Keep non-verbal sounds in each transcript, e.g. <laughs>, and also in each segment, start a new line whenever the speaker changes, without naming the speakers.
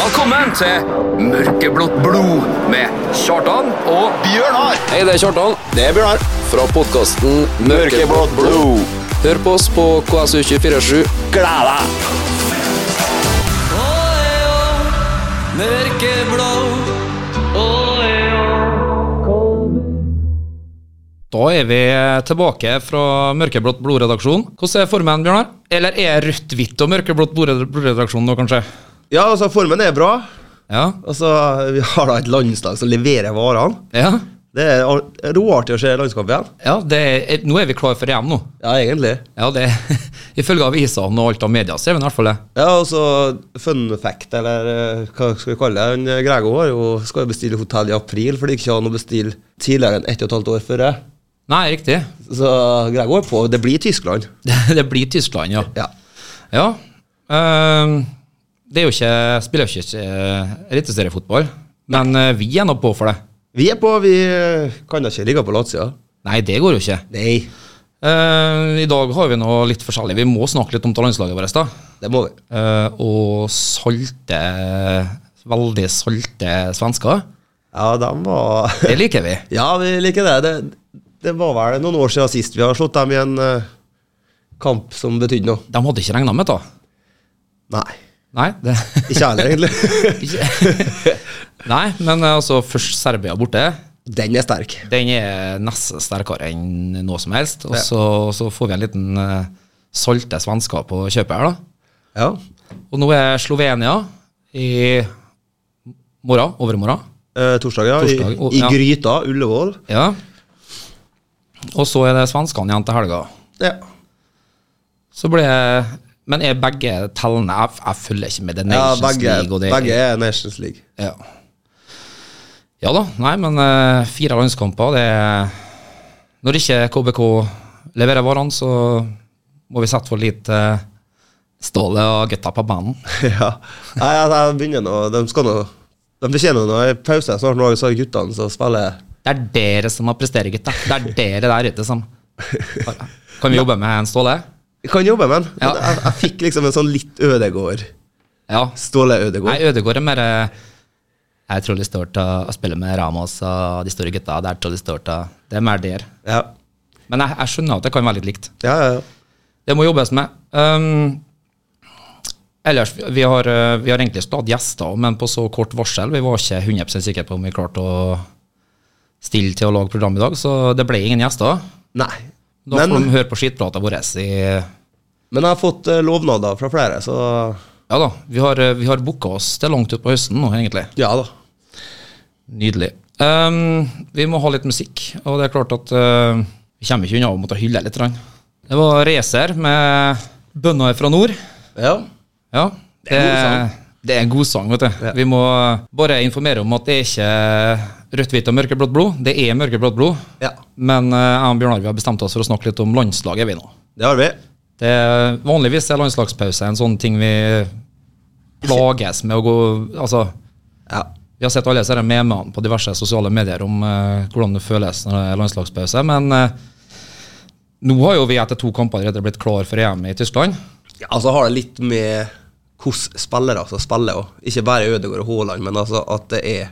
Velkommen til Mørkeblått blod med Kjartan og
Bjørnar!
Hei, det er Kjartan
Det er Bjørnar.
fra podkasten
Mørkeblått blod.
Hør på oss på KSU247.
Gled deg!
Da er vi tilbake fra Mørkeblått blodredaksjon. Hvordan er formen, Bjørnar? Eller er rødt-hvitt og mørkeblått blodred- blodredaksjon nå, kanskje?
Ja, altså formen er bra.
Ja?
Altså, Vi har da et landslag som leverer varene.
Ja?
Det er al- råartig å se landskapet igjen.
ja det er, nå er vi klar for EM nå.
Ja, egentlig.
Ja, det <laughs> Ifølge avisene og alt av media, så er vi i hvert fall det.
Ja, og så fun fact, eller eh, hva skal vi kalle det. Han, eh, Gregor har jo- skal jo bestille hotell i april, for det gikk ikke an å bestille tidligere enn ett og et halvt år før. det.
Nei, riktig.
Så Gregor er på. Det blir Tyskland.
<laughs> Det, det blir Tyskland, ja.
Ja.
Ja. ehm, det er jo ikke Spiller jo ikke eh, eliteseriefotball, men eh, vi er nå på for det.
Vi er på, vi eh, kan da ikke ligge på latsida.
Nei, det går jo ikke.
Nei,
Eh, I dag har vi nå litt forskjellig. Vi må snakke litt om landslaget vårt, da.
det må vi.
Eh, og salte Veldig salte svensker.
Ja, de var
Det liker vi.
Ja, vi liker det. det. Det var vel noen år siden sist vi har slått dem i en eh, kamp som betydde noe.
De hadde ikke regna med det.
Nei.
Nei, det, <laughs>
Ikke jeg heller, egentlig.
ikke. Nei, men eh, altså først Serbia borte.
<laughs> Den er sterk.
Den er nesten sterkere enn noe som helst. Og så, så får vi en liten eh, salte svensker på kjøpet her, da.
Ja.
Og nå er Slovenia i morgen. Overmorgen.
Eh, torsdag, ja.
Torsdag, og-
I, i
ja.
Gryta, Ullevål.
Ja. Og så er det svenskene igjen til helga.
Ja.
Så ble Men er begge tellene Jeg, jeg følger ikke med. Det er
ja
Nations
begge,
League og det
begge er Nations League.
Ja. ja da. Nei, men eh, fire landskamper, det er Når ikke KBK leverer varene, så må vi sette for litt eh, Ståle og gutta på banen.
<laughs> ja. Nei, jeg, jeg begynner nå. De skal nå De fortjener nå en pause snart, nå, så er det guttene som spiller
Det er dere som må prestere, gutta. Det er dere der ute som
<laughs>
Kan vi jobbe med en Ståle?
Vi kan jobbe, men
Ja.
jeg, jeg fikk liksom en sånn litt Ødegård.
Ja.
Ståle Ødegård.
Nei, Ødegaard er mer eh, Jeg tror de står til å spille med Ramos og de store gutta. Det er tror de står til Det er mer der.
Ja.
Men jeg, jeg skjønner at det kan være litt likt.
Ja, ja, ja.
Det må jobbes med. Um, ellers, vi har, eh, vi har egentlig stadig gjester, men på så kort varsel. Vi var ikke 100 sikre på om vi klarte å stille til å lage program i dag, så det ble ingen gjester.
Nei.
Da får
Men,
de høre på skitprata vår i
men jeg har fått eh, lovnader fra flere, så
Ja da, vi har, eh, vi har booka oss til langt utpå høsten nå, egentlig.
ja da.
Nydelig. Ehm, vi må ha litt musikk, og det er klart at eh, vi kommer ikke unna å måtte hylle litt. grann. Det var Racer med 'Bønder fra nord'.
Ja.
Ja, det, det, er, en god sang, vet du. Vi må bare informere om at det er ikke rødt, hvitt og mørkeblått blod. Det er mørkeblått blod.
Ja.
Men eh, jeg og Bjørnar vi har bestemt oss for å snakke litt om landslaget, vi nå.
Det har vi.
Det, vanligvis er landslagspause en sånn ting vi plages med å gå Altså
Ja.
vi har sett alle disse her memene på diverse sosiale medier om eh, hvordan det føles når det er landslagspause. Men eh, nå har jo vi etter to kamper allerede blitt klar for EM i Tyskland.
Ja, altså har det litt med hvordan spillere altså, spiller òg. Ikke bare Ødegaard og Haaland, men altså at det er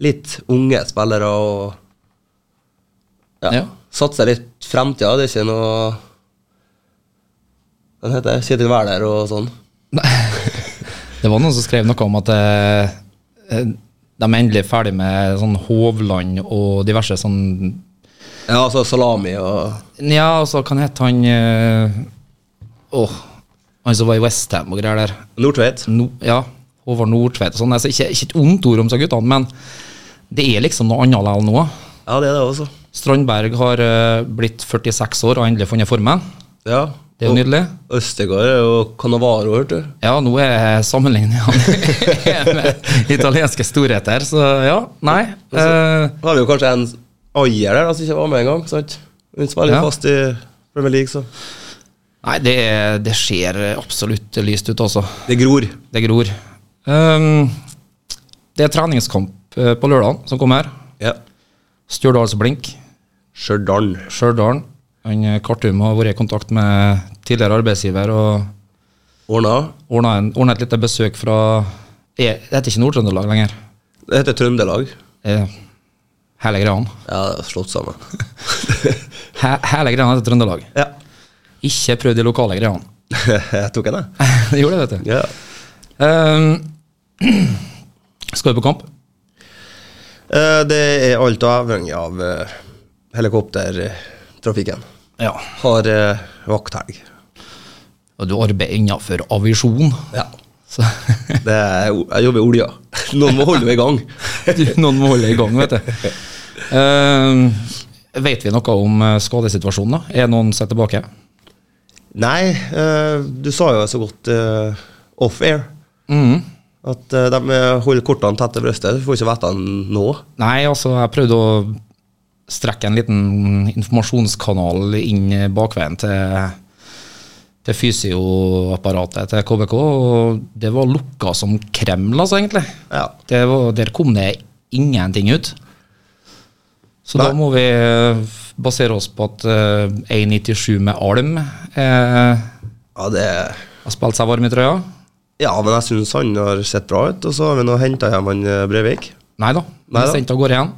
litt unge spillere og ja,
Ja.
satser litt fremtida. Det er ikke noe Hva heter det? Kjetil Wæler og sånn.
Det var noen som skrev noe om at eh, eh, de er endelig ferdig med sånn Hovland og diverse sånn
Ja, altså salami og
Nja, altså, kan hete han eh, Åh, han som var i Westham og greier der.
Nordtveit.
no, ja, Håvard Nordtvedt og sånn. Altså, ikke, ikke et ondt ord om seg guttene, men det er liksom noe annet likevel nå.
Ja, det er det også.
Strandberg har eh, blitt 46 år og endelig funnet formen.
Ja.
Det er jo
og
nydelig.
Østegård og Canavaro, hørte du.
Ja, nå er sammenligningene <laughs> med italienske storheter, så ja, nei. eh,
Da har vi jo kanskje en Ayer der da, som ikke var med engang. sant? Hun spiller
Ja.
jo fast i Premier League, så
nei, det, er- det ser absolutt lyst ut, altså.
Det gror.
Det gror. Um, det er treningskamp eh, på lørdag som kommer.
Ja.
Stjørdals-Blink.
Stjørdal.
Stjørdal. Han eh, Kartum har vært i kontakt med tidligere arbeidsgiver og
Ordna.
ordna, en, ordna et lite besøk fra er, det heter ikke Nord-Trøndelag lenger.
Det heter Trøndelag.
Eh, Hele greia.
Ja, det er slått sammen.
He, hele greia heter Trøndelag.
<laughs> ja. <laughs>
Ikke prøv de lokale greiene. <laughs>
jeg tok en, jeg.
Det gjorde det, vet du.
Ja.
Ehm, <clears throat> skal du på kamp?
Eh, Det er alt avhengig av eh, helikoptertrafikken.
Ja.
Har eh, vakthelg.
Og du arbeider innenfor avisjon.
Ja.
Så <laughs>
Det er, jeg jobber i olja. Noen må holde meg i gang. <laughs>
du, noen må holde i gang, vet du. Ehm, vet vi noe om eh, skadesituasjonen, da? Er noen sett tilbake?
Nei, eh, du sa jo så godt eh, off-air
Mhm.
at eh, de holder kortene tett til brystet. Du får ikke vite det nå.
Nei, altså, jeg prøvde å strekke en liten informasjonskanal inn bakveien til, til fysioapparatet til KBK, og det var lukka som Kreml, altså, egentlig.
Ja.
Det var, der kom det ingenting ut. Så da
Nei.
må vi eh, basere oss på at eh, 1,97 med alm eh,
Ja, det,
har spilt seg varm i trøya.
ja, men jeg syns han har sett bra ut. Og så har vi nå henta hjem han eh, Brevik.
Nei da, vi
Neida.
sendte av gårde igjen.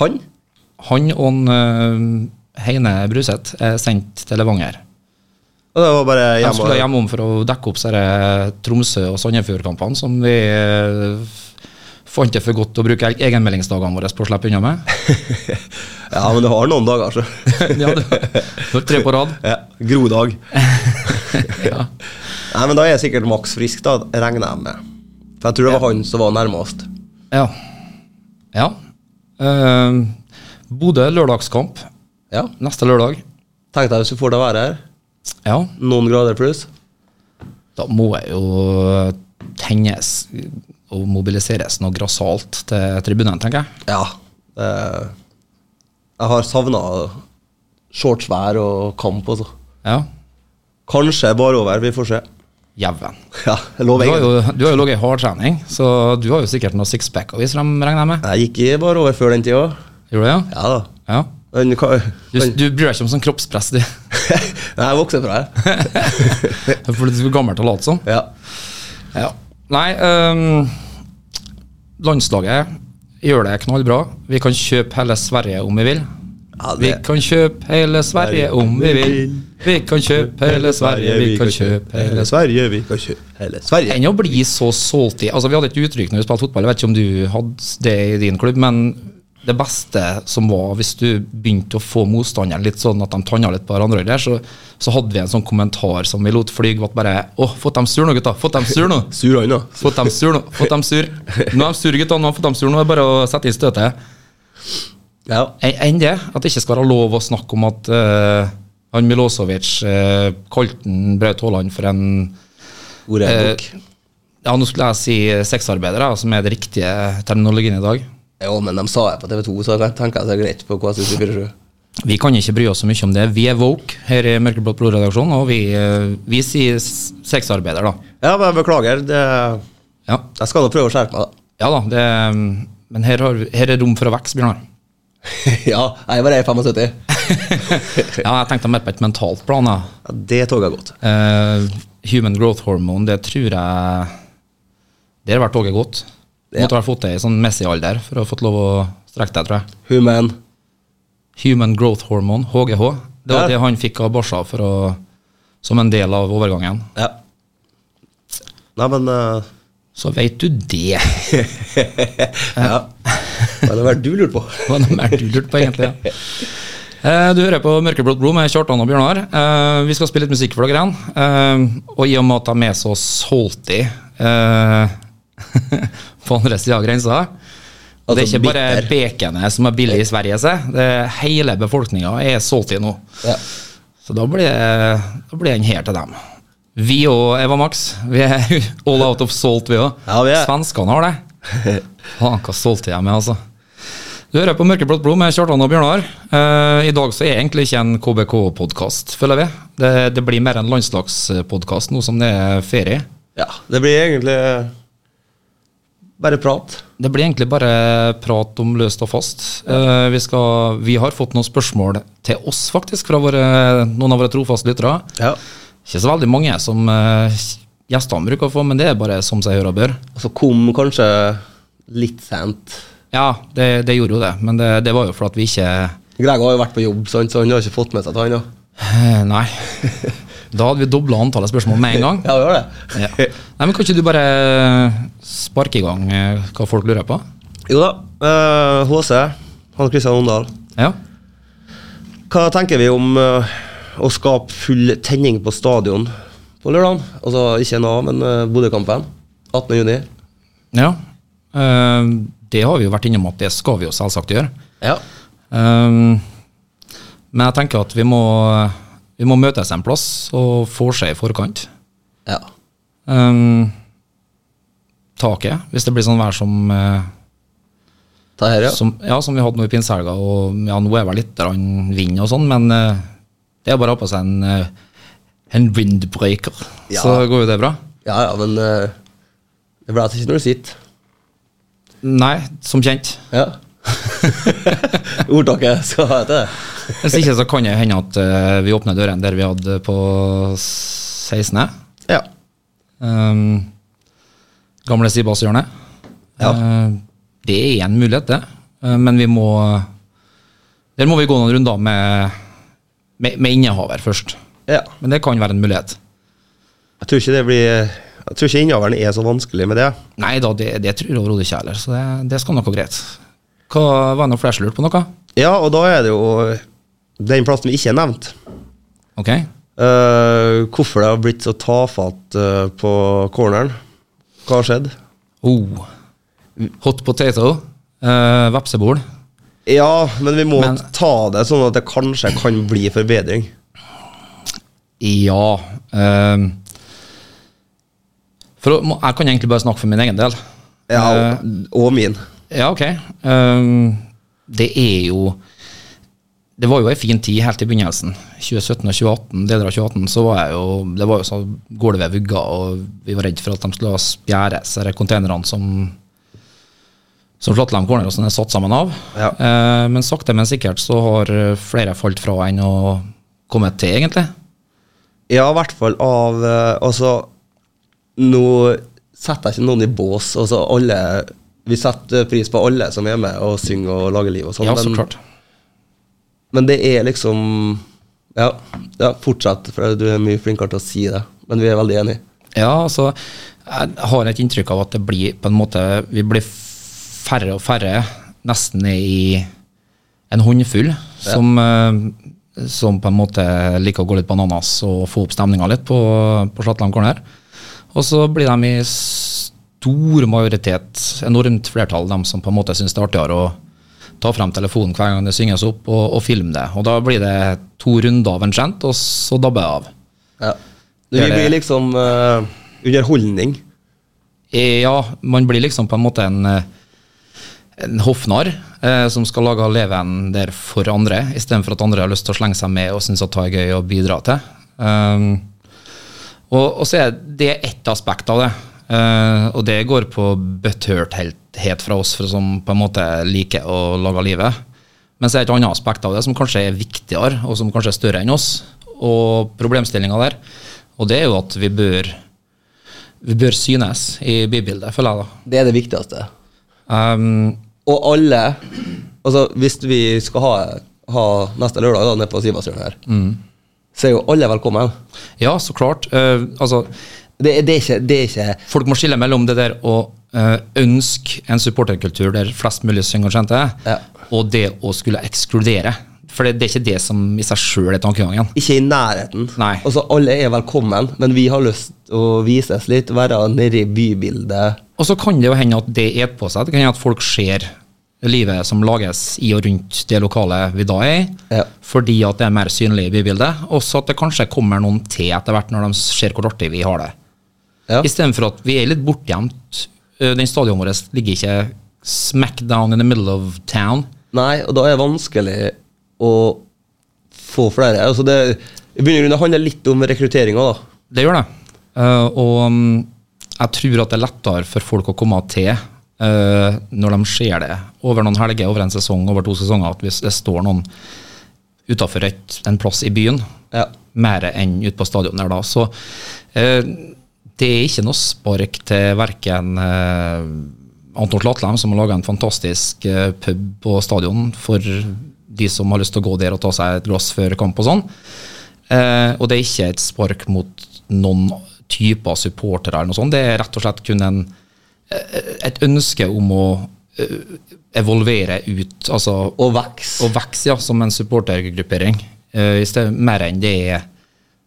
Han?
Han og en, eh, Heine Bruseth er sendt til Levanger.
Og det var bare
De
hjemme.
skulle hjemom for å dekke opp disse Tromsø- og Sandefjord-kampene som vi eh, fant det for godt å bruke e- egenmeldingsdagene våre på å slippe unna med.
Ja, men det har noen dager, så.
ja, det var, det var <laughs> tre på rad.
<laughs> ja, Grodag.
Ja.
Nei, men da er jeg sikkert maks frisk, da, regner jeg med. For jeg tror det var han som var nærmest.
Ja. ja. Eh, Bodø lørdagskamp
Ja.
neste lørdag.
Tenk deg hvis du får det være her.
Ja,
Noen grader pluss.
da må jeg jo eh, tennes og mobiliseres noe grassat til tribunen, tenker jeg.
Ja. Eh, jeg har savna shortsvær og kamp, altså.
Ja.
Kanskje bare over, vi får se.
Jæven.
Ja,
Du
jeg lover
har
ingenting.
jo, du har jo ligget i hardtrening, så du har jo sikkert noe sixpack å vise frem, regner jeg med.
Jeg gikk i bare over før den tida.
Gjorde du det?
Ja da.
Ja.
Men <laughs> hva-
Du, du bryr deg ikke om sånn kroppspress, du. <laughs>
Nei, jeg vokser fra det.
Fordi du er gammel til å late som.
Ja.
Ja. Nei, ehm, landslaget gjør det knallbra. Vi kan kjøpe hele Sverige om vi vil.
Ja,
Vi
det,
kan kjøpe hele Sverige om vi vil. Vi kan kjøpe hele Sverige, vi kan kjøpe hele
hele
Sverige.
Sverige, vi kan kjøpe hele Sverige.
Enn å bli så salty. Altså, vi hadde et uttrykk når vi spilte fotball, jeg vet ikke om du hadde det i din klubb, men det beste som var hvis du begynte å få motstanderen litt sånn at de tanna litt på hverandre, og der, så, så hadde vi en sånn kommentar som vi lot flyge, var at bare Å, fått dem sur nå, gutta! Fått dem sur nå!
Sur han, da.
Fått dem sur nå. Fått dem sur. Nå er de sure, gutta. Nå har de fått dem sur. Nå er det bare å sette inn støtet.
Ja.
En- Enn det. At det ikke skal være lov å snakke om at eh, han Milosevic uh, kalte han Braut Haaland for en
Hvor er
eh,
nok?
Ja, nå skulle jeg si eh, sexarbeider, da, som er den riktige terminologien i dag.
Jo, men de sa det på TV 2, så jeg tenker jeg det er greit på KSU47.
<laughs> Vi kan ikke bry oss så mye om det. Vi er woke her i Mørkeblått blod-redaksjonen, og vi, eh, vi sier s- sexarbeider, da.
Ja, men jeg beklager. Det,
Ja,
jeg skal nå prøve å skjerpe meg, da.
ja da. Det, men her, har, vi- her er rom for å vokse, Bjørnar. <laughs>
<laughs> ja, jeg var 75.
Ja, jeg tenkte mer på et mentalt plan. da.
Ja, det tog jeg godt.
Eh, human growth hormone, det tror jeg Det har vært toget godt.
Ja.
Måtte ha fått det i sånn Messi-alder for å ha fått lov å strekke deg, tror jeg.
Human.
Human growth hormone, HGH. Det var
Ja.
det han fikk av Barca for å, som en del av overgangen.
Ja. Nei, men eh,
Så veit du det. <laughs>
Ja. Hva er det du lurt på?
Det var noe mer du lurte på, egentlig. Ja. Eh, Du hører på Mørkeblått blod med Kjartan og Bjørnar. Eh, Vi skal spille litt musikk for dere igjen. Eh, Og i og med at de er så salty eh, <laughs> på andre sida av grensa og Det er
Altså
ikke bare
bitter.
baconet som er billig i Sverige, se. Det er hele befolkninga er salty nå.
Ja.
Så da blir, da blir den her til dem. Vi og Eva Max, vi er <laughs> all out of salt, vi òg.
Ja, vi er.
Svenskene har det. <laughs> Faen, hva solgte jeg med, altså. Du hører på Mørkeblått blod med Kjartan og Bjørnar. Eh, I dag så er egentlig ikke en KBK-podkast, føler vi. Det, det blir mer en landslagspodkast nå som det er ferie.
<laughs> ja. Det blir egentlig eh, bare prat.
Det blir egentlig bare prat om løst og fast. Eh, vi, skal, vi har fått noen spørsmål til oss, faktisk, fra våre, noen av våre trofaste lyttere.
Ja.
Ikke så veldig mange som eh, gjestene bruker å få, men det er bare som seg hører og bør.
Og så kom kanskje litt sent.
Ja, det, det gjorde jo det, men det, det var jo for at vi ikke
Greg har jo vært på jobb, sant, så han har ikke fått med seg at han da.
eh, Nei. Da hadde vi dobla antallet spørsmål med en gang.
Ja, vi har det.
Ja. Nei, men Kan ikke du bare sparke i gang eh, hva folk lurer på?
<laughs> Jo da. eh, HC, Hans Christian Ondal.
Ja.
Hva tenker vi om eh, å skape full tenning på stadion på lørdag? Altså ikke NA, men uh, Bodø-kampen. 18. juni.
ja. Eh, det har vi jo vært innom at det skal vi jo selvsagt gjøre.
Ja.
Eh, men jeg tenker at vi må, vi må møtes en plass og få seg i forkant.
ja.
Eh, taket, hvis det blir sånn vær som eh,
Ta her, ja.
Som, ja, som vi hadde nå i pinsehelga. Og ja, nå er vel litt grann vind og sånn, men eh, det er bare å ha på seg en, eh, en windbreaker,
Ja.
så går jo det bra.
ja, ja, men eh, det blir ikke når du sitter.
Nei, som kjent.
Ja. <laughs> Ordtaket skal hete det.
Hvis ikke så kan det hende at eh, vi åpner dørene der vi hadde på 16.
Ja.
Um, gamle Sibas-hjørnet.
Ja.
Eh, det er en mulighet, det. Eh, men vi må Der må vi gå noen runder med, med, med innehaver først.
ja.
Men det kan være en mulighet.
Jeg tror ikke det blir Jeg tror ikke innehaveren er så vanskelig med det.
Nei da, det, det tror jeg overhodet ikke heller, så det, det skal nok gå greit. Hva var det noe flere som lurte på noe?
Ja, og da er det jo den plassen vi ikke har nevnt.
Ok?
Eh, hvorfor det har blitt så tafatt eh, på corneren. Hva har skjedd?
Oh. Hot potato. eh, vepsebol.
Ja, men vi må
Men-
ta det sånn at det kanskje kan bli forbedring.
Ja. ehm. for å, må, jeg kan egentlig bare snakke for min egen del.
Ja,
Eh,
og min.
ja, ok. Ehm, det er jo Det var jo ei fin tid helt i begynnelsen. 2017 og 2018, deler av 2018, så var jeg jo Det var jo så gulvet ved vugga, og vi var redd for at de skulle spjæres, disse containerne som som Flatland Corner og sånn er satt sammen av.
Ja.
Eh, men sakte, men sikkert så har eh, flere falt fra enn å komme til, egentlig.
Ja, i hvert fall av eh, Altså, nå setter jeg ikke noen i bås. Altså, alle Vi setter pris på alle som er med og synger og lager liv og sånn.
Ja, så
men-
klart.
Men det er liksom Ja, ja fortsett, for du er mye flinkere til å si det. Men vi er veldig enige.
Ja, altså, jeg har et inntrykk av at det blir på en måte Vi blir færre og færre, nesten ned i en håndfull, som, eh, som på en måte liker å gå litt bananas og få opp stemninga litt på, på Slatland Corner. Og så blir de i stor majoritet, enormt flertall, de som på en måte syns det er artigere å ta frem telefonen hver gang det synges opp, og, og filme det. Og da blir det to runder av en kjent, og så dabber jeg av.
Ja.
Det
Vi
er det.
blir liksom eh, underholdning.
Eh, Ja, man blir liksom på en måte en, eh, en hoffnarr eh, som skal lage leven der for andre, istedenfor at andre har lyst til å slenge seg med og synes at det er gøy å bidra til. Um, og, og så er det ett aspekt av det, eh, og det går på butthørthet fra oss for som på en måte liker å lage livet. Men så er det et annet aspekt av det som kanskje er viktigere, og som kanskje er større enn oss, og problemstillinga der. Og det er jo at vi bør, vi bør synes i bybildet, føler jeg da.
Det er det viktigste.
Um,
Og alle Altså, hvis vi skal ha, ha neste lørdag da, nede på Sivasjøen her, så er jo alle velkommen.
ja, så klart. eh, altså,
Det, er- det, er ikke, det er ikke
folk må skille mellom det der å eh, ønske en supporterkultur der flest mulig synger og kjenter,
Ja.
og det å skulle ekskludere. For det, det er ikke det som i seg sjøl er tankegangen.
ikke i nærheten.
Nei.
Altså, alle er velkommen, men vi har lyst å vises litt, være nede i bybildet.
Og så kan det jo hende at det et på seg. Det kan hende at folk ser livet som lages i og rundt det lokalet vi da er i,
Ja.
fordi at det er mer synlig i bybildet, og så at det kanskje kommer noen til etter hvert når de ser hvor artig vi har det.
Ja.
Istedenfor at vi er litt bortgjemt. Eh, Den stadion vår ligger ikke smack down in the middle of town.
Nei, og da er det vanskelig å få flere. Altså det, I bunn og grunn det handler litt om rekrutteringa, da.
Det gjør det. Eh, og mm, jeg tror at det er lettere for folk å komme til eh, når de ser det over noen helger, over en sesong, over to sesonger, at hvis det står noen utafor en plass i byen,
Ja.
mer enn ute på stadion der da. Så eh, det er ikke noe spark til verken eh, Anton Slatlem, som har laga en fantastisk eh, pub på stadion for de som har lyst til å gå der og ta seg et glass før kamp og sånn. Eh, og det er ikke et spark mot noen typer supportere eller noe sånt. Det er rett og slett kun en, eh, et ønske om å eh, evolvere ut, altså
Og veks.
og vokse ja, som en supportergruppering, eh, i sted, mer enn det er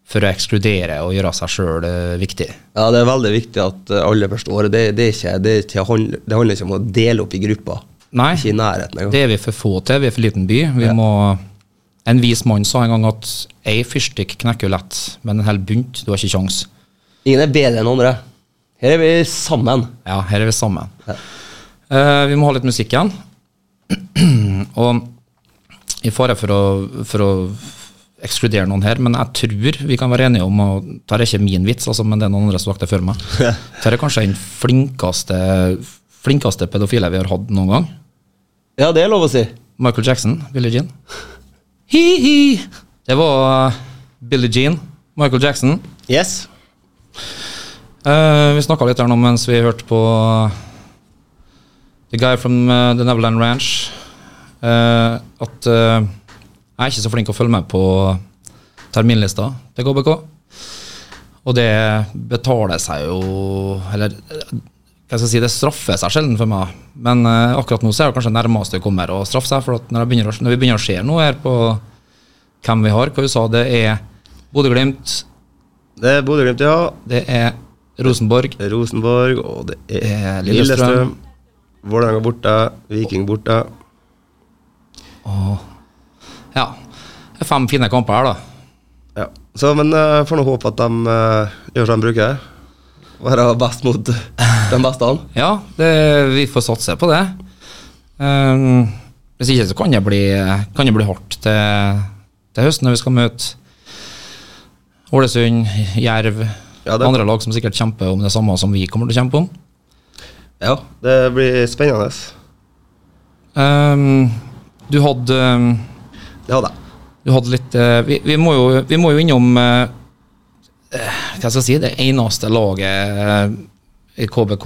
for å ekskludere og gjøre seg sjøl viktig.
Ja, det er veldig viktig at eh, alle forstår det. Det, det, er ikke, det, er ikke, handl- det handler ikke om å dele opp i grupper.
Nei.
Ikke i nærheten engang.
Det er vi for få til, vi er for liten by. Vi må, en vis mann sa en gang at ei fyrstikk knekker jo lett, men en hel bunt, du har ikke kjangs.
Ingen er bedre enn andre. Her er vi sammen.
Ja, her er vi sammen.
Ja.
Eh, vi må ha litt musikk igjen. <clears throat> og i fare for å, for å ekskludere noen her, men jeg tror vi kan være enige om og Dette er ikke min vits, altså, men det er noen andre som vakter før meg. Dette er kanskje den flinkeste, flinkeste pedofile vi har hatt noen gang.
Ja, det er lov å si.
Michael Jackson, Billie Jean. Hi-hi! Det var eh, Billie Jean, Michael Jackson.
Yes.
Eh, vi snakka litt her nå mens vi hørte på eh, The Guy from eh, The Neverland Ranch. eh, at eh, jeg er ikke så flink å følge med på terminlista til KBK. Og det betaler seg jo Eller eh, hva skal jeg si, det straffer seg sjelden for meg. Men eh, akkurat nå så er det kanskje nærmest det kommer å straffe seg. For at når, jeg begynner, å- når vi begynner å se noe her på hvem vi har, hva vi sa, det er Bodø-Glimt,
Det er Bodø-Glimt, ja.
det er Rosenborg.
Det er Rosenborg, og det
Eh,
er
Lillestrøm.
Lillestrøm. Vålerenga borte, Viking borte.
Ja. Det er fem fine kamper her, da.
Ja. Så, men jeg får nå håpe at de eh, gjør som de bruker. Være best <laughs> mot de beste.
Ja, det, vi får satse på det. Ehm, hvis ikke så kan det bli, kan det bli hardt til, til høsten når vi skal møte Ålesund, Jerv
Ja, det-
Andre lag som sikkert kjemper om det samme som vi kommer til å kjempe om.
Ja, det blir spennende.
Ehm, du hadde ehm,
Det hadde jeg.
Du hadde litt eh, vi, vi, må jo, vi må jo innom eh, eh, Hva skal jeg si Det eneste laget eh, i KBK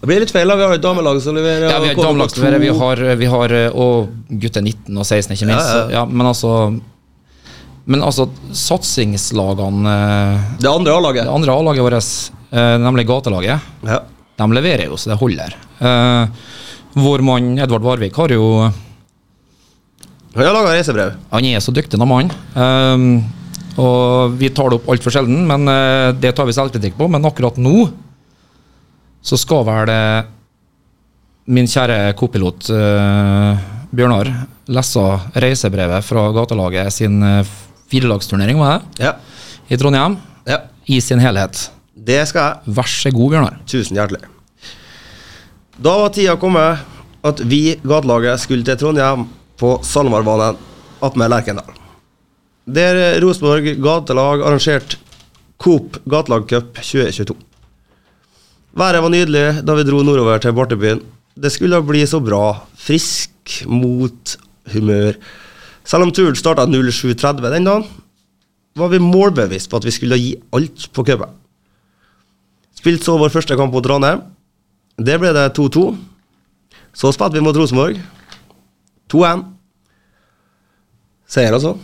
Det blir litt feil, da. Vi har et damelag som leverer.
Ja, vi
og
har
kommer på
damelag
to.
som leverer, vi har, vi har eh, Og gutter 19 og 16, ikke minst.
Ja, ja.
Så, Ja, men altså Men altså, satsingslagene eh,
Det andre
Det
A-laget.
andre A-laget vårt, eh, nemlig gatelaget,
Ja.
de leverer jo så det holder. Eh, Vår mann Edvard Varvik har jo
Vi har laga reisebrev.
Han er så dyktig, den mannen. Ehm, og vi tar det opp altfor sjelden, men eh, det tar vi selvkritikk på. Men akkurat nå så skal vel eh, min kjære kopilot eh, Bjørnar lese reisebrevet fra gatelaget sin eh, firedagsturnering var det,
Ja.
i Trondheim
ja.
i sin helhet.
Det skal jeg.
Vær så god, Bjørnar.
Tusen hjertelig. Da var tida kommet at vi, gatelaget, skulle til Trondheim på SalMar-banen attmed Lerkendal. Der Rosenborg gatelag arrangerte Coop gatelagcup 2022. Været var nydelig da vi dro nordover til Bartebyen. Det skulle bli så bra. Frisk, mot, humør. Selv om turen starta 07.30 den dagen, var vi målbevisst på at vi skulle gi alt på cupen. Spilte så vår første kamp mot Ranheim. Det ble det 2-2. Så spilte vi mot Rosenborg. 2-1. Seier, altså.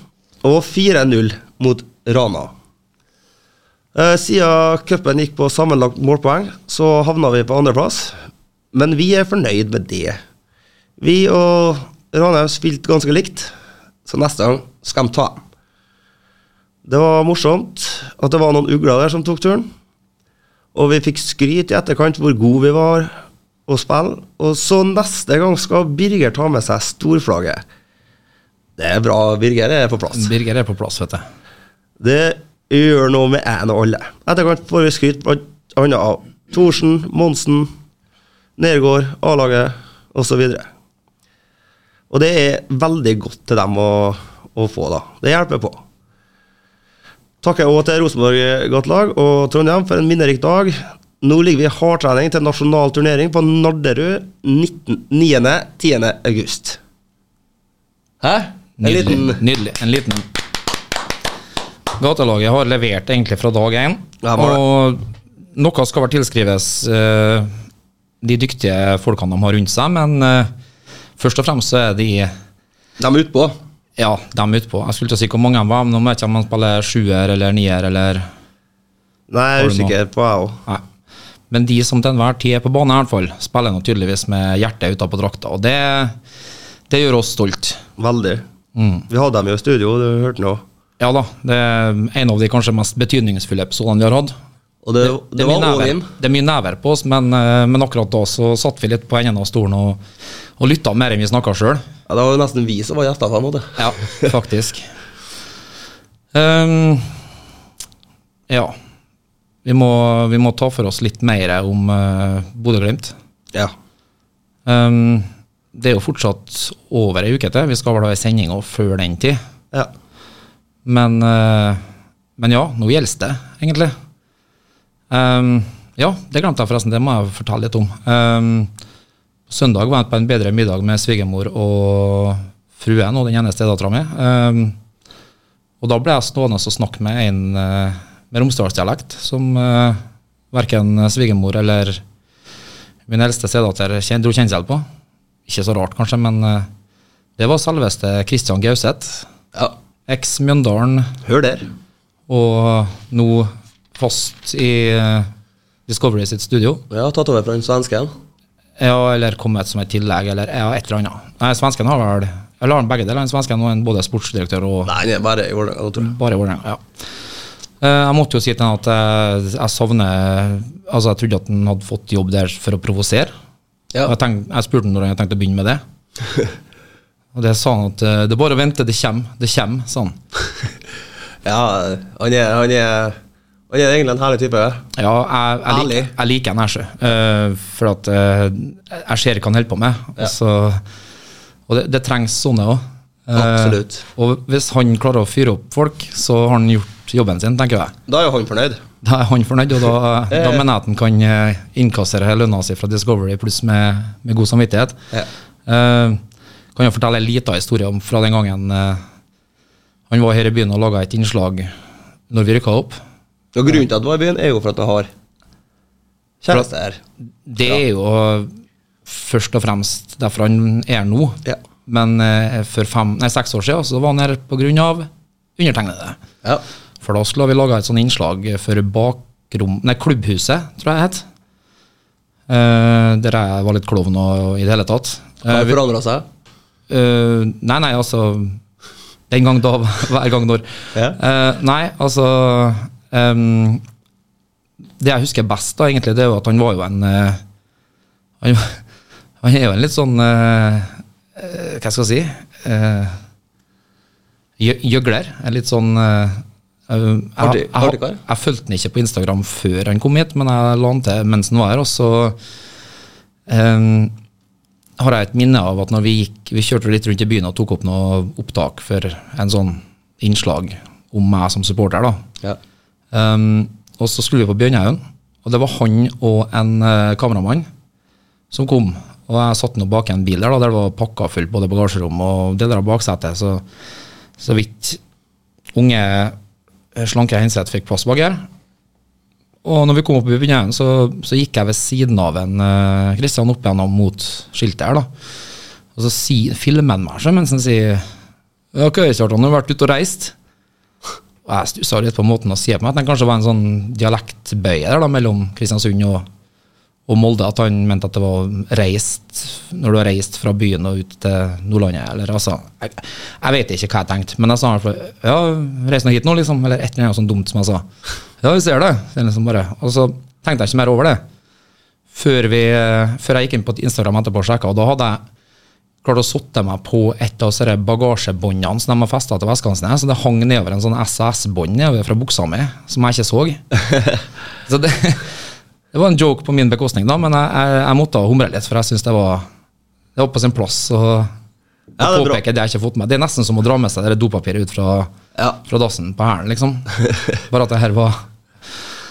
Og 4-0 mot Rana. Eh, Siden cupen gikk på sammenlagt målpoeng, så havna vi på andreplass. Men vi er fornøyd med det. Vi og Ranheim spilte ganske likt, så neste gang skal de ta dem. Det var morsomt at det var noen ugler der som tok turen. Og vi fikk skryt i etterkant hvor gode vi var å spille. Og så neste gang skal Birger ta med seg storflagget. Det er bra, Birger er på plass.
Birger er på plass, vet du.
Det gjør noe med en og alle. Etterkant får vi skryt blant annet av Thorsen, Monsen, Nergård, A-laget osv. Og det er veldig godt til dem å, å få, da. Det hjelper på. Takker òg til Rosenborg gatelag og Trondheim for en minnerik dag. Nå ligger vi i hardtrening til nasjonal turnering på Narderud 9.-10. august. Hæ? En
Nydelig.
liten
Nydelig. En liten Gatelaget har levert egentlig fra dag én.
Ja, det var det.
og Noe skal vel tilskrives eh, de dyktige folkene de har rundt seg, men eh, først og fremst så er de
De er utpå.
ja, dem utpå. Jeg skulle til å si hvor mange de var, men nå vet jeg ikke om de spiller sjuer eller nier eller
Nei, jeg
Har
er
du noe?
usikker på jeg òg.
Nei. Men de som til enhver tid er på banen, i hvert fall, spiller nå tydeligvis med hjertet utapå drakta. Og det, det gjør oss stolt.
Veldig. Vi hadde dem jo i studio, du hørte nå.
Ja da, det er en av de kanskje mest betydningsfulle episodene vi har hatt.
Og det, det,
Det er, mye
var all
never,
in.
det er mye never på oss, men, eh, men akkurat da så satt vi litt på enden av stolen og, og lytta mer enn vi snakka sjøl.
Ja, det var jo nesten vi som var gjester på en måte. <laughs>
Ja, faktisk. Ehm, ja. Vi må, vi må ta for oss litt mer om uh, Bodø-Glimt.
Ja.
Ehm, det er jo fortsatt over ei uke til. Vi skal vel ha ei sending også før den tid.
ja.
Men, eh, men ja, nå gjelder det, egentlig. Ehm, ja, det glemte jeg forresten, det må jeg fortelle litt om. Ehm, søndag var jeg på en bedre middag med svigermor og fruen og den ene stedattera mi. Ehm, og da ble jeg stående og snakke med en eh, med romsdalsdialekt som uh, verken svigermor eller min eldste stedatter kjen- dro kjensel på. Ikke så rart, kanskje, men eh, det var selveste Kristian Gauseth.
ja.
Eks Mjøndalen
Hør der.
og nå fast i eh, Discovery sitt studio.
Ja, tatt over fra den svensken.
Ja, eller kommet som et tillegg, eller ja, et eller annet. Nei, svensken har vel Eller har han begge deler? Han Svensken og en både sportsdirektør og
Nei, det er bare i Vålerenga, tror jeg.
bare i Vålerenga. Ja. Eh, Jeg måtte jo si til han at jeg, jeg savner Altså, jeg trodde at han hadde fått jobb der for å provosere.
Ja.
Og Jeg, tenk, jeg spurte han når han hadde tenkt å begynne med det. Og det sa han at eh, det er bare å vente, det kommer, det kommer, sa han.
Ja, han er, han er, han er egentlig en herlig type.
Ja, jeg, jeg,
Ærlig.
lik, jeg liker han Nesjø. eh, for at eh, jeg ser hva han holder på med. Og så- og det, det trengs sånne òg.
Absolutt.
Og hvis han klarer å fyre opp folk, så har han gjort jobben sin, tenker jeg.
Da er jo han fornøyd.
Da er han fornøyd, og da, da mener jeg at han kan eh, innkassere lønna si fra Discovery pluss med, med god samvittighet.
Ja.
Eh, kan jo fortelle en liten historie om fra den gangen eh, han var her i byen og laga et innslag når vi rykka opp.
Og grunnen til at du var i byen, er jo for at du har kjæreste her.
Det er jo først og fremst derfor han er nå.
Ja.
Men eh, for fem, nei, seks år siden så var han her på grunn av undertegnede.
Ja.
For da skulle vi lage et sånt innslag for bakrom, nei, klubbhuset, tror jeg det het. Eh, der jeg var litt klovn og i det hele tatt. Eh,
Har
vi-
forandra seg?
Eh, nei, nei, altså Den gang da, <laughs> hver gang når.
Ja.
Eh, nei, altså ehm, Det jeg husker best, da, egentlig, det er jo at han var jo en eh, han, han er jo en litt sånn eh, eh, Hva skal jeg si? Eh, jø- Gjøgler. En litt sånn eh, eh, jeg,
Artig-
jeg,
artig
jeg,
kar.
jeg fulgte han ikke på Instagram før han kom hit, men jeg la han til mens han var her. Og så ehm, har jeg et minne av at når vi gikk, vi kjørte litt rundt i byen og tok opp noe opptak for en sånn innslag om meg som supporter, da.
Ja.
Ehm, og så skulle vi på Bjørnhaugen, og det var han og en eh, kameramann som kom. Og jeg satt nå bak en bil der da, der det var pakka fullt, både bagasjerom og deler av baksetet. Så, så vidt unge, eh, slanke Henseth fikk plass bak her. Og når vi kom opp i Bjørnhaugen, så, så gikk jeg ved siden av en eh, Kristian opp igjennom mot skiltet her, da. Og så si, filmer han meg så, mens han sier Ja, hva er det, Kjartan, har du vært ute og reist? Og jeg stussa litt på måten å si det på meg, at det kanskje var en sånn dialektbøye der da, mellom Kristiansund og, og Molde, at han mente at det var reist når du har reist fra byen og ut til Nordlandet, eller altså Jeg, jeg vet ikke hva jeg tenkte, men jeg sa i hvert fall ja, reis nå hit nå, liksom, eller et eller annet sånn dumt som jeg sa. Ja, vi ser det, sier han liksom bare. Og så tenkte jeg ikke mer over det. Før, vi, eh, før jeg gikk inn på Instagram etterpå og sjekka, og da hadde jeg klarte å sotte meg på et av disse bagasjebåndene som de har festa til veskene sine. Så det hang nedover en sånn SAS-bånd nedover fra buksa mi, som jeg ikke
<laughs>
så. så det, det var en joke på min bekostning, da, men jeg, jeg, jeg måtte humre litt, for jeg syns det var det var på sin plass å å
Ja, det er bra.
påpeke det jeg ikke har fått med. Det er nesten som å dra med seg det der dopapiret ut fra,
Ja.
fra dassen på hælen, liksom. Bare at det her var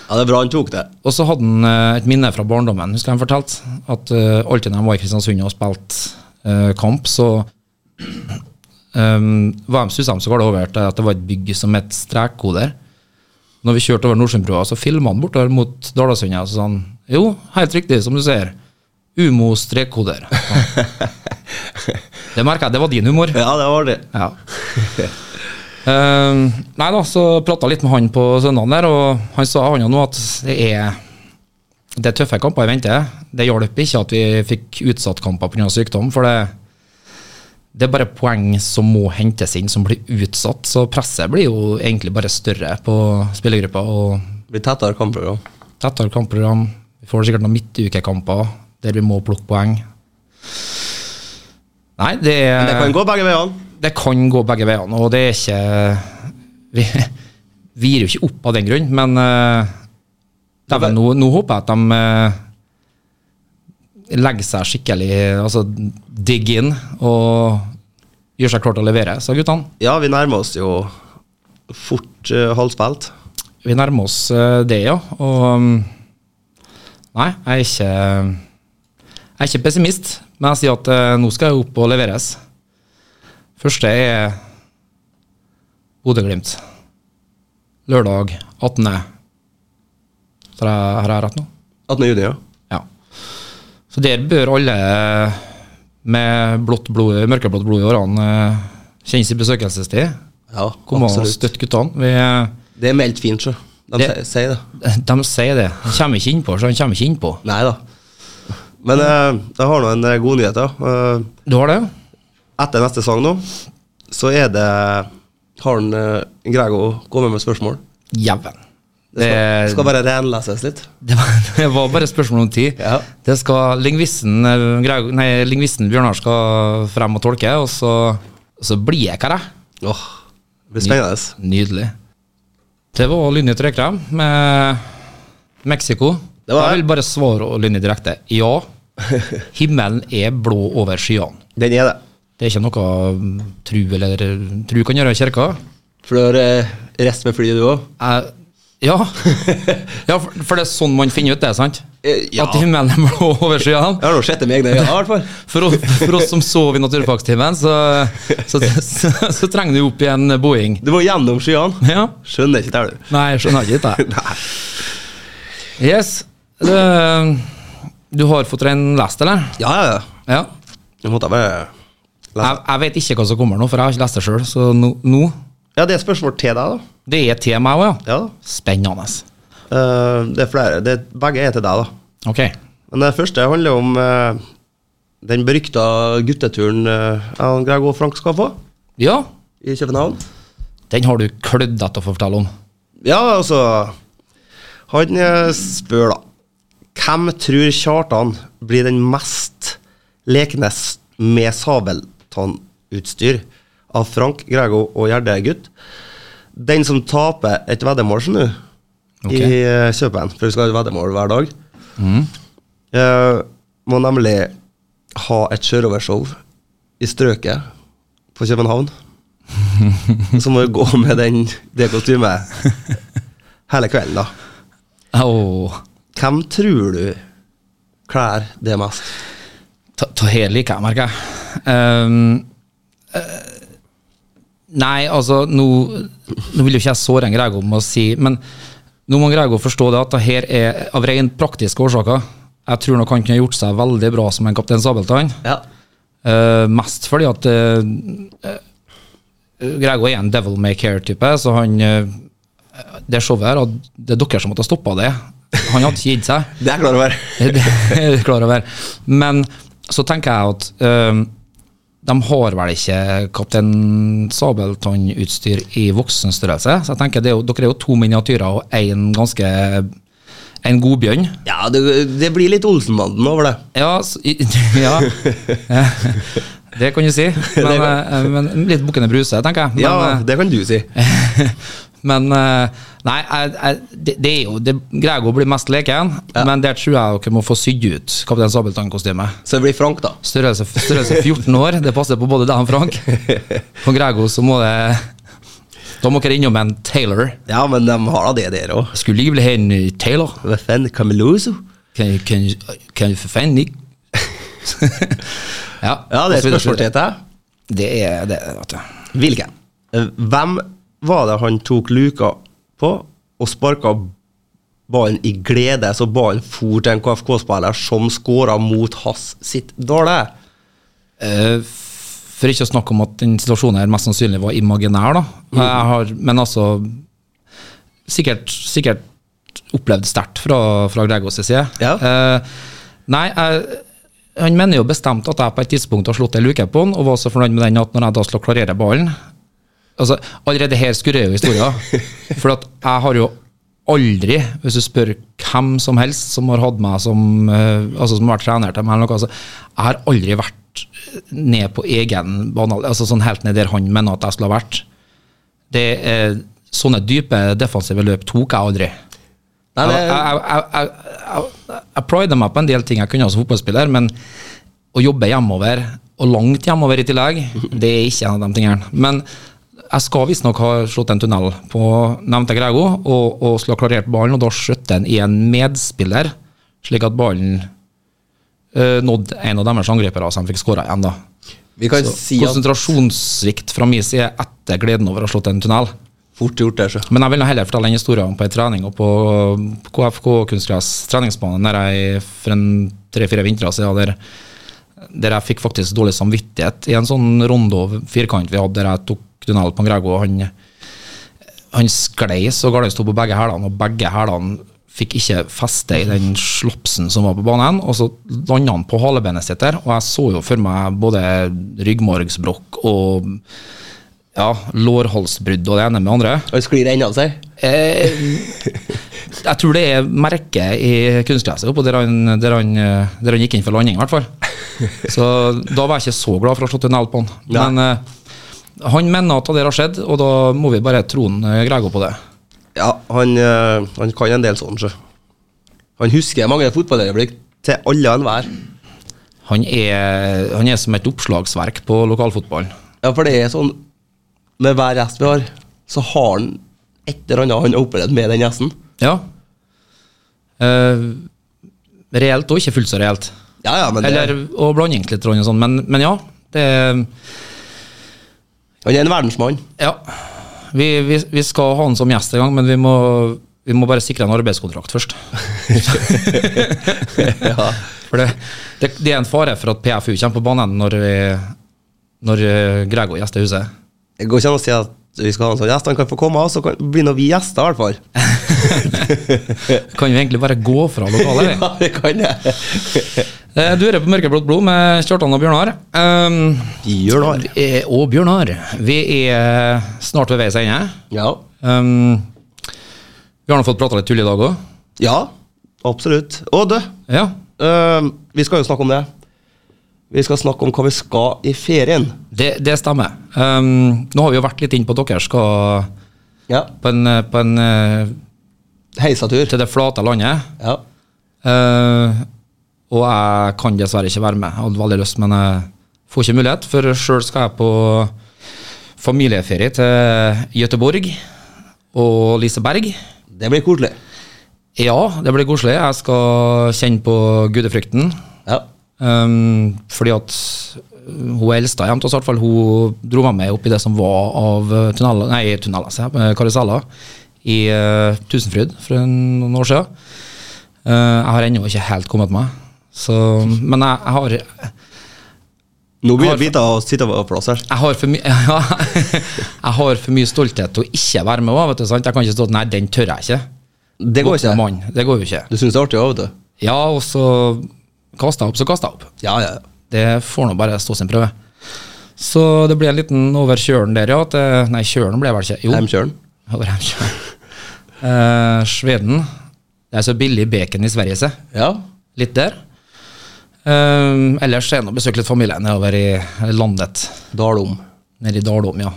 ja, det er bra han tok det.
og så hadde han eh, et minne fra barndommen. Husker jeg han fortalte at eh, alltid når han var i Kristiansund og spilte eh, kamp, så ehm, eh, um, var de susam, så var det over til at det var et bygg som het strekkoder. Når vi kjørte over Nordsundbrua, så filma han bortover mot Dalasunda. Så sa han jo, helt riktig, som du sier. Umo strekkoder. Det merka jeg, det var din humor.
Ja, det var det.
<laughs> Ja. Eh, nei da, så prata litt med han på søndagen der, og han sa han jo nå at det er det er tøffe kamper i vente. Det hjalp ikke at vi fikk utsatt kamper pga. sykdom, for det, det er bare poeng som må hentes inn, som blir utsatt. Så presset blir jo egentlig bare større på spillergruppa. Og
Blir tettere kampprogram.
tettere kampprogram. Vi får sikkert noen midtukekamper der vi må plukke poeng. Nei, det
Men det kan gå begge veiene.
det kan gå begge veiene, og det er ikke Vi, vi gir jo ikke opp av den grunn, men eh, dæven, nå, nå håper jeg at de eh, legger seg skikkelig Altså dig in og gjør seg klar til å levere, sa guttene.
Ja, vi nærmer oss jo fort eh, halvspilt.
Vi nærmer oss eh, det, ja. Og mm, Nei, jeg er ikke Jeg er ikke pessimist, men jeg sier at eh, nå skal jeg opp og leveres. Første er Bodø-Glimt. Lørdag 18. Så jeg- Har jeg rett nå?
18. juni, ja.
Ja. Så der bør alle med blått blod, mørkeblått blod i årene eh, kjenne sin besøkelsestid.
ja
Kom og
absolutt.
støtt guttene. Vi eh,
Det er meldt fint, sjø. De
Det-
sier- sier det.
De sier det. Han kommer ikke innpå, så han kommer ikke innpå.
Nei da. Men eh, jeg har nå en eh, god nyhet, ja. Eh,
Du har det?
etter neste sang nå, så er det Har han eh, Grego kommet med spørsmål?
Jæven.
Det skal,
Det-
skal bare renleses litt.
Det var, <laughs> det var bare et spørsmål om tid.
Ja.
Det skal Lingvisten eh, Greg- nei, lingvisten Bjørnar skal frem og tolke, og så, så blir jeg hva jeg er.
Åh, det blir spennende.
Nydelig. Det var Lynni Trøykrem med Mexico.
Det var det.
jeg vil bare svare Lynni direkte.
<laughs>
Ja, himmelen er blå over skyene.
Den er det.
Det er ikke noe mm, tru eller tru kan gjøre i kirka.
For du har eh, rest med flyet, du òg?
Jeg- ja. <laughs> ja, for for det er sånn man finner ut det, sant?
Eh, ja.
At himmelen er blå over skyene.
Jeg har nå sett det med egne øyne, i hvert fall.
For, oss- for oss som sov i naturfagstimen, så, så, så, så trenger du opp i en Boeing.
Du må gjennom skyene.
Ja.
Skjønner ikke det, du.
Nei, jeg skjønner ikke dette. Yes. Det, du har fått rein lest, eller?
Ja, ja, ja.
Ja.
Nå måtte jeg bare lese.
Jeg, jeg vet ikke hva som kommer nå, for jeg har ikke lest det sjøl. Så nå, nå
Ja, det er et spørsmål til deg, da.
Det er til meg òg, ja.
Ja da.
Spennende.
Eh, det er flere. Det, er- begge er til deg, da.
Ok.
Men det første handler om eh, den berykta gutteturen eh, jeg og Greg og Frank skal få
Ja,
i København.
den har du klødd etter å få fortelle om.
Ja, altså Han eh, spør, da. Hvem tror Kjartan blir den mest lekne s- med sabeltannutstyr av Frank, Grego og Gjerde-gutt? Den som taper et veddemål sånn, nå,
Ok.
i eh, Kjøpen, for vi skal ha et veddemål hver dag, eh, må nemlig ha et sjørøvershow i strøket på København. Så må vi gå med den, det kostymet hele kvelden, da.
Åh,
Hvem tror du klær det mest?
ta, ta hele like, jeg merker jeg. Ehm, eh, nei, altså, nå, nå vil jo ikke jeg såre en Grego med å si, men nå må Grego forstå det at det her er av rent praktiske årsaker. Jeg tror nok han kunne gjort seg veldig bra som en kaptein Sabeltann.
Ja.
Eh, mest fordi at eh, eh, Grego er en devil may care-type, så han eh, Det showet her, og det er dere som måtte ha stoppa det. Han hadde ikke gitt seg.
Det er jeg klar over.
<laughs> Det er jeg klar over. Men så tenker jeg at øhm, de har vel ikke Kaptein Sabeltann-utstyr i voksenstørrelse. Så jeg tenker det er jo, dere er jo to miniatyrer og én ganske En godbjørn.
Ja, det, det blir litt Olsenbanden over det.
Ja, s- i- <laughs> ja. Det kan du si. Men, eh, men litt Bukkene Bruse, tenker jeg. Men,
Ja,
eh,
det kan du si.
<laughs> Men eh, nei, jeg, jeg, det, det er jo det, Grego blir mest leken, men der tror jeg dere må få sydd ut Kaptein Sabeltann-kostyme.
Så det blir Frank, da.
Størrelse, størrelse 14 år, det passer på både deg og Frank. For Grego så må det Da må dere innom en Taylor.
Ja, men de har da det der òg.
Skulle ikke bli en eh, Taylor.
Hva faen, Cameloso?
Kan, kan, kan for faen ikke <laughs> ja,
Ja, det er
og så videre,
et spørsmål til deg.
Det er det, vet du.
Hvilken? Eh, Hvem var det han tok luka på og sparka ballen i glede, så ballen for til en KFK-spiller som skåra mot hans sitt dale.
Eh, For ikke å snakke om at den situasjonen her mest sannsynlig var imaginær, da. Jeg har, men altså Sikkert, sikkert opplevd sterkt fra, fra Gregors side.
Ja.
Eh, nei, jeg, han mener jo bestemt at jeg på et tidspunkt har slått ei luke på han, og var så fornøyd med den at når jeg da skal klarere ballen altså, Allerede her skurrer jo historien.
<laughs>
for at jeg har jo aldri, hvis du spør hvem som helst som har hatt meg som eh, altså som har vært trener til meg, eller noe, altså, jeg har aldri vært ned på egen bane, altså sånn helt ned der han mener at jeg skulle ha vært. Det er, sånne dype defensive løp tok jeg aldri.
Nei,
Jeg,
det,
jeg, jeg, jeg, jeg, jeg prider meg på en del ting jeg kunne som fotballspiller, men å jobbe hjemover, og langt hjemover i tillegg, det er ikke en av de tingene. Men jeg skal visstnok ha slått en tunnel på nevnte Grego, og, og skulle ha klarert ballen, og da skjøt den i en medspiller, slik at ballen eh, nådde en av deres angripere, så de fikk skåra igjen, da.
vi kan
Så
si at
konsentrasjonssvikt fra min side etter gleden over å ha slått en tunnel.
fort gjort, det. sjø.
Men jeg vil nå heller fortelle en historie om på en trening og på KFK kunstgress treningsbane der jeg for en tre-fire vintre siden der, der jeg fikk faktisk dårlig samvittighet i en sånn rondo firkant vi hadde der jeg tok tunnel på en Grego. og Han, han sklei så Gardain sto på begge hælene, og begge hælene fikk ikke feste i den slopsen som var på banen. Og så landa han på halebenet sitt der, og jeg så jo for meg både ryggmargsbrokk og ja, lårhalsbrudd og det ene med det andre.
Han sklir ennå, sier
Eh, jeg tror det er merket i kunstgresset oppå der han, der, han, eh, der han gikk inn for landing, i hvert fall. Så da var jeg ikke så glad for å ha slått en L på han. Men eh, han mener at det der har skjedd, og da må vi bare tro han, eh, Grego på det.
Ja, han, eh, han kan en del sånn, sjø. Han husker mange fotballøyeblikk til alle og enhver.
Han er, han er som et oppslagsverk på lokalfotballen.
Ja, for det er sånn Med hver gjest vi har, så har han et eller annet han har opplevd med den gjesten.
Ja. Eh, reelt og ikke fullt så reelt.
Ja, ja, men det,
Eller, og blanding litt, og sånn, men, men ja. det er...
Han er en verdensmann.
Ja. Vi, vi, vi skal ha han som gjest en gang, men vi må, vi må bare sikre en arbeidskontrakt først.
Ja.
For det, det, det er en fare for at PFU kommer på banen når, vi, når eh, Grego gjester huset.
<laughs> Det går ikke an å si at vi skal ha en sånn gjest. Han kan få komme, så kan, blir nå vi gjester, i hvert fall.
Kan vi egentlig bare gå fra lokalet? vi?
<laughs> <laughs> Ja, det kan jeg.
Eh, Du hører på Mørkeblått blod med Kjartan og Bjørnar. Um,
Bjørnar.
eh, og Bjørnar, vi er snart ved veis ende.
Ja.
Um, vi har nå fått prata litt tull i dag òg.
ja, absolutt. Og du,
Ja.
eh, vi skal jo snakke om det. Vi skal snakke om hva vi skal i ferien.
Det, det stemmer. Um, nå har vi jo vært litt inn på at dere skal
Ja.
på en, på en eh,
Heisatur.
til det flate landet.
Ja.
Eh, og jeg kan dessverre ikke være med. Jeg hadde veldig lyst, men jeg får ikke mulighet. For sjøl skal jeg på familieferie til Gøteborg og Liseberg.
Det blir koselig.
Ja, det blir koselig. Jeg skal kjenne på gudefrykten.
Ja.
Um, fordi at uh, hun eldste hjemme til oss, i hvert fall, hun dro meg med opp i det som var av uh, tunneler, nei, tunneler, sier jeg, eh, karuseller i eh, Tusenfryd for en, noen år siden. Eh, jeg har ennå ikke helt kommet meg. Så, men jeg, jeg har
Nå begynner biter å sitte på plass her.
jeg har, for my <laughs> ja, jeg har for mye stolthet til å ikke være med. også, Vet du, sant? Jeg kan ikke stå at nei, den tør jeg ikke.
Det går ikke.
Mann, det går jo ikke.
Du syns det er artig òg, vet du.
Ja, og så kaster jeg opp, så kaster jeg opp.
Ja, ja.
Det får nå bare stå sin prøve. Så det ble en liten over kjølen der, ja. At, eh, nei, kjølen ble vel ikke Jo,
Heimkjøren.
over Hemkjølen. <laughs> Eh, Sveden. Det er så billig bacon i Sverige, se.
Ja.
Litt der. Eh, ellers er det å besøke litt familie nedover i landet.
Dalom.
Nede i Dalom, ja.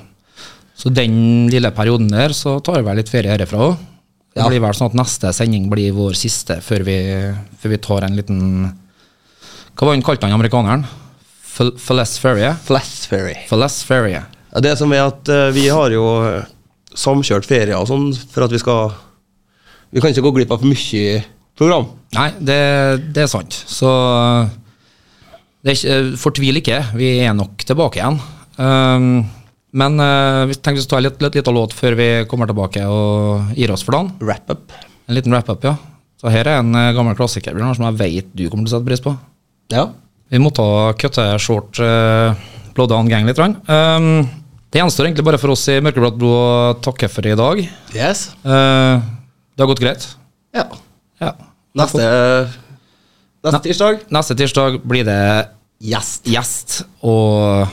Så den lille perioden der, så tar jeg vel litt ferie herifra òg. Det
Ja.
blir vel sånn at neste sending blir vår siste før vi, før vi tar en liten Hva var han kalte han amerikaneren? Fel- Felles Ferry?
Flass Ferry.
For less ferie.
Ja, det som er at eh, vi har jo eh, samkjørt ferier og sånn for at vi skal Vi kan ikke gå glipp av for mye program.
Nei, det, det er sant. Så det er ikke, fortvil ikke. Vi er nok tilbake igjen. Um, Men eh, vi tenkte å ta litt, litt, litt av låt før vi kommer tilbake og gir oss for dagen.
Wrap-up.
En liten wrap-up, ja. Så her er en eh, gammel klassiker Bjørnar, som jeg vet du kommer til å sette pris på.
Ja.
Vi måtte ha kutte short uh, Bloddan gang litt. grann. Um, det gjenstår egentlig bare for oss i Mørkeblått blod å takke for i dag.
Yes.
Eh, det har gått greit.
Ja.
Ja.
Neste Neste tirsdag.
Neste tirsdag blir det
Gjest.
gjest, og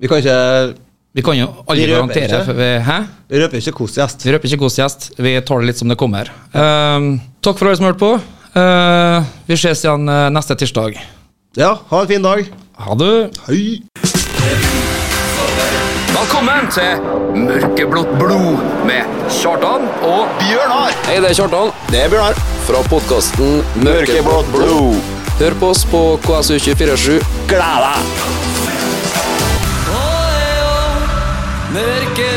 Vi kan ikke
vi kan jo aldri
Vi røper
garantere.
ikke.
For vi, hæ?
Vi røper ikke hvilken gjest.
Vi røper ikke god gjest, vi tar det litt som det kommer. Um, takk for alle som hørte på. Eh, vi ses igjen eh, neste tirsdag.
Ja, ha en fin dag.
Ha det.
Hei.
Velkommen til Mørkeblått blod med Kjartan og
Bjørnar!
Hei, det er Kjartan
Det er Bjørnar.
fra podkasten Mørkeblå.
Mørkeblått blod.
Hør på oss på KSU247.
Gleda!
Mørke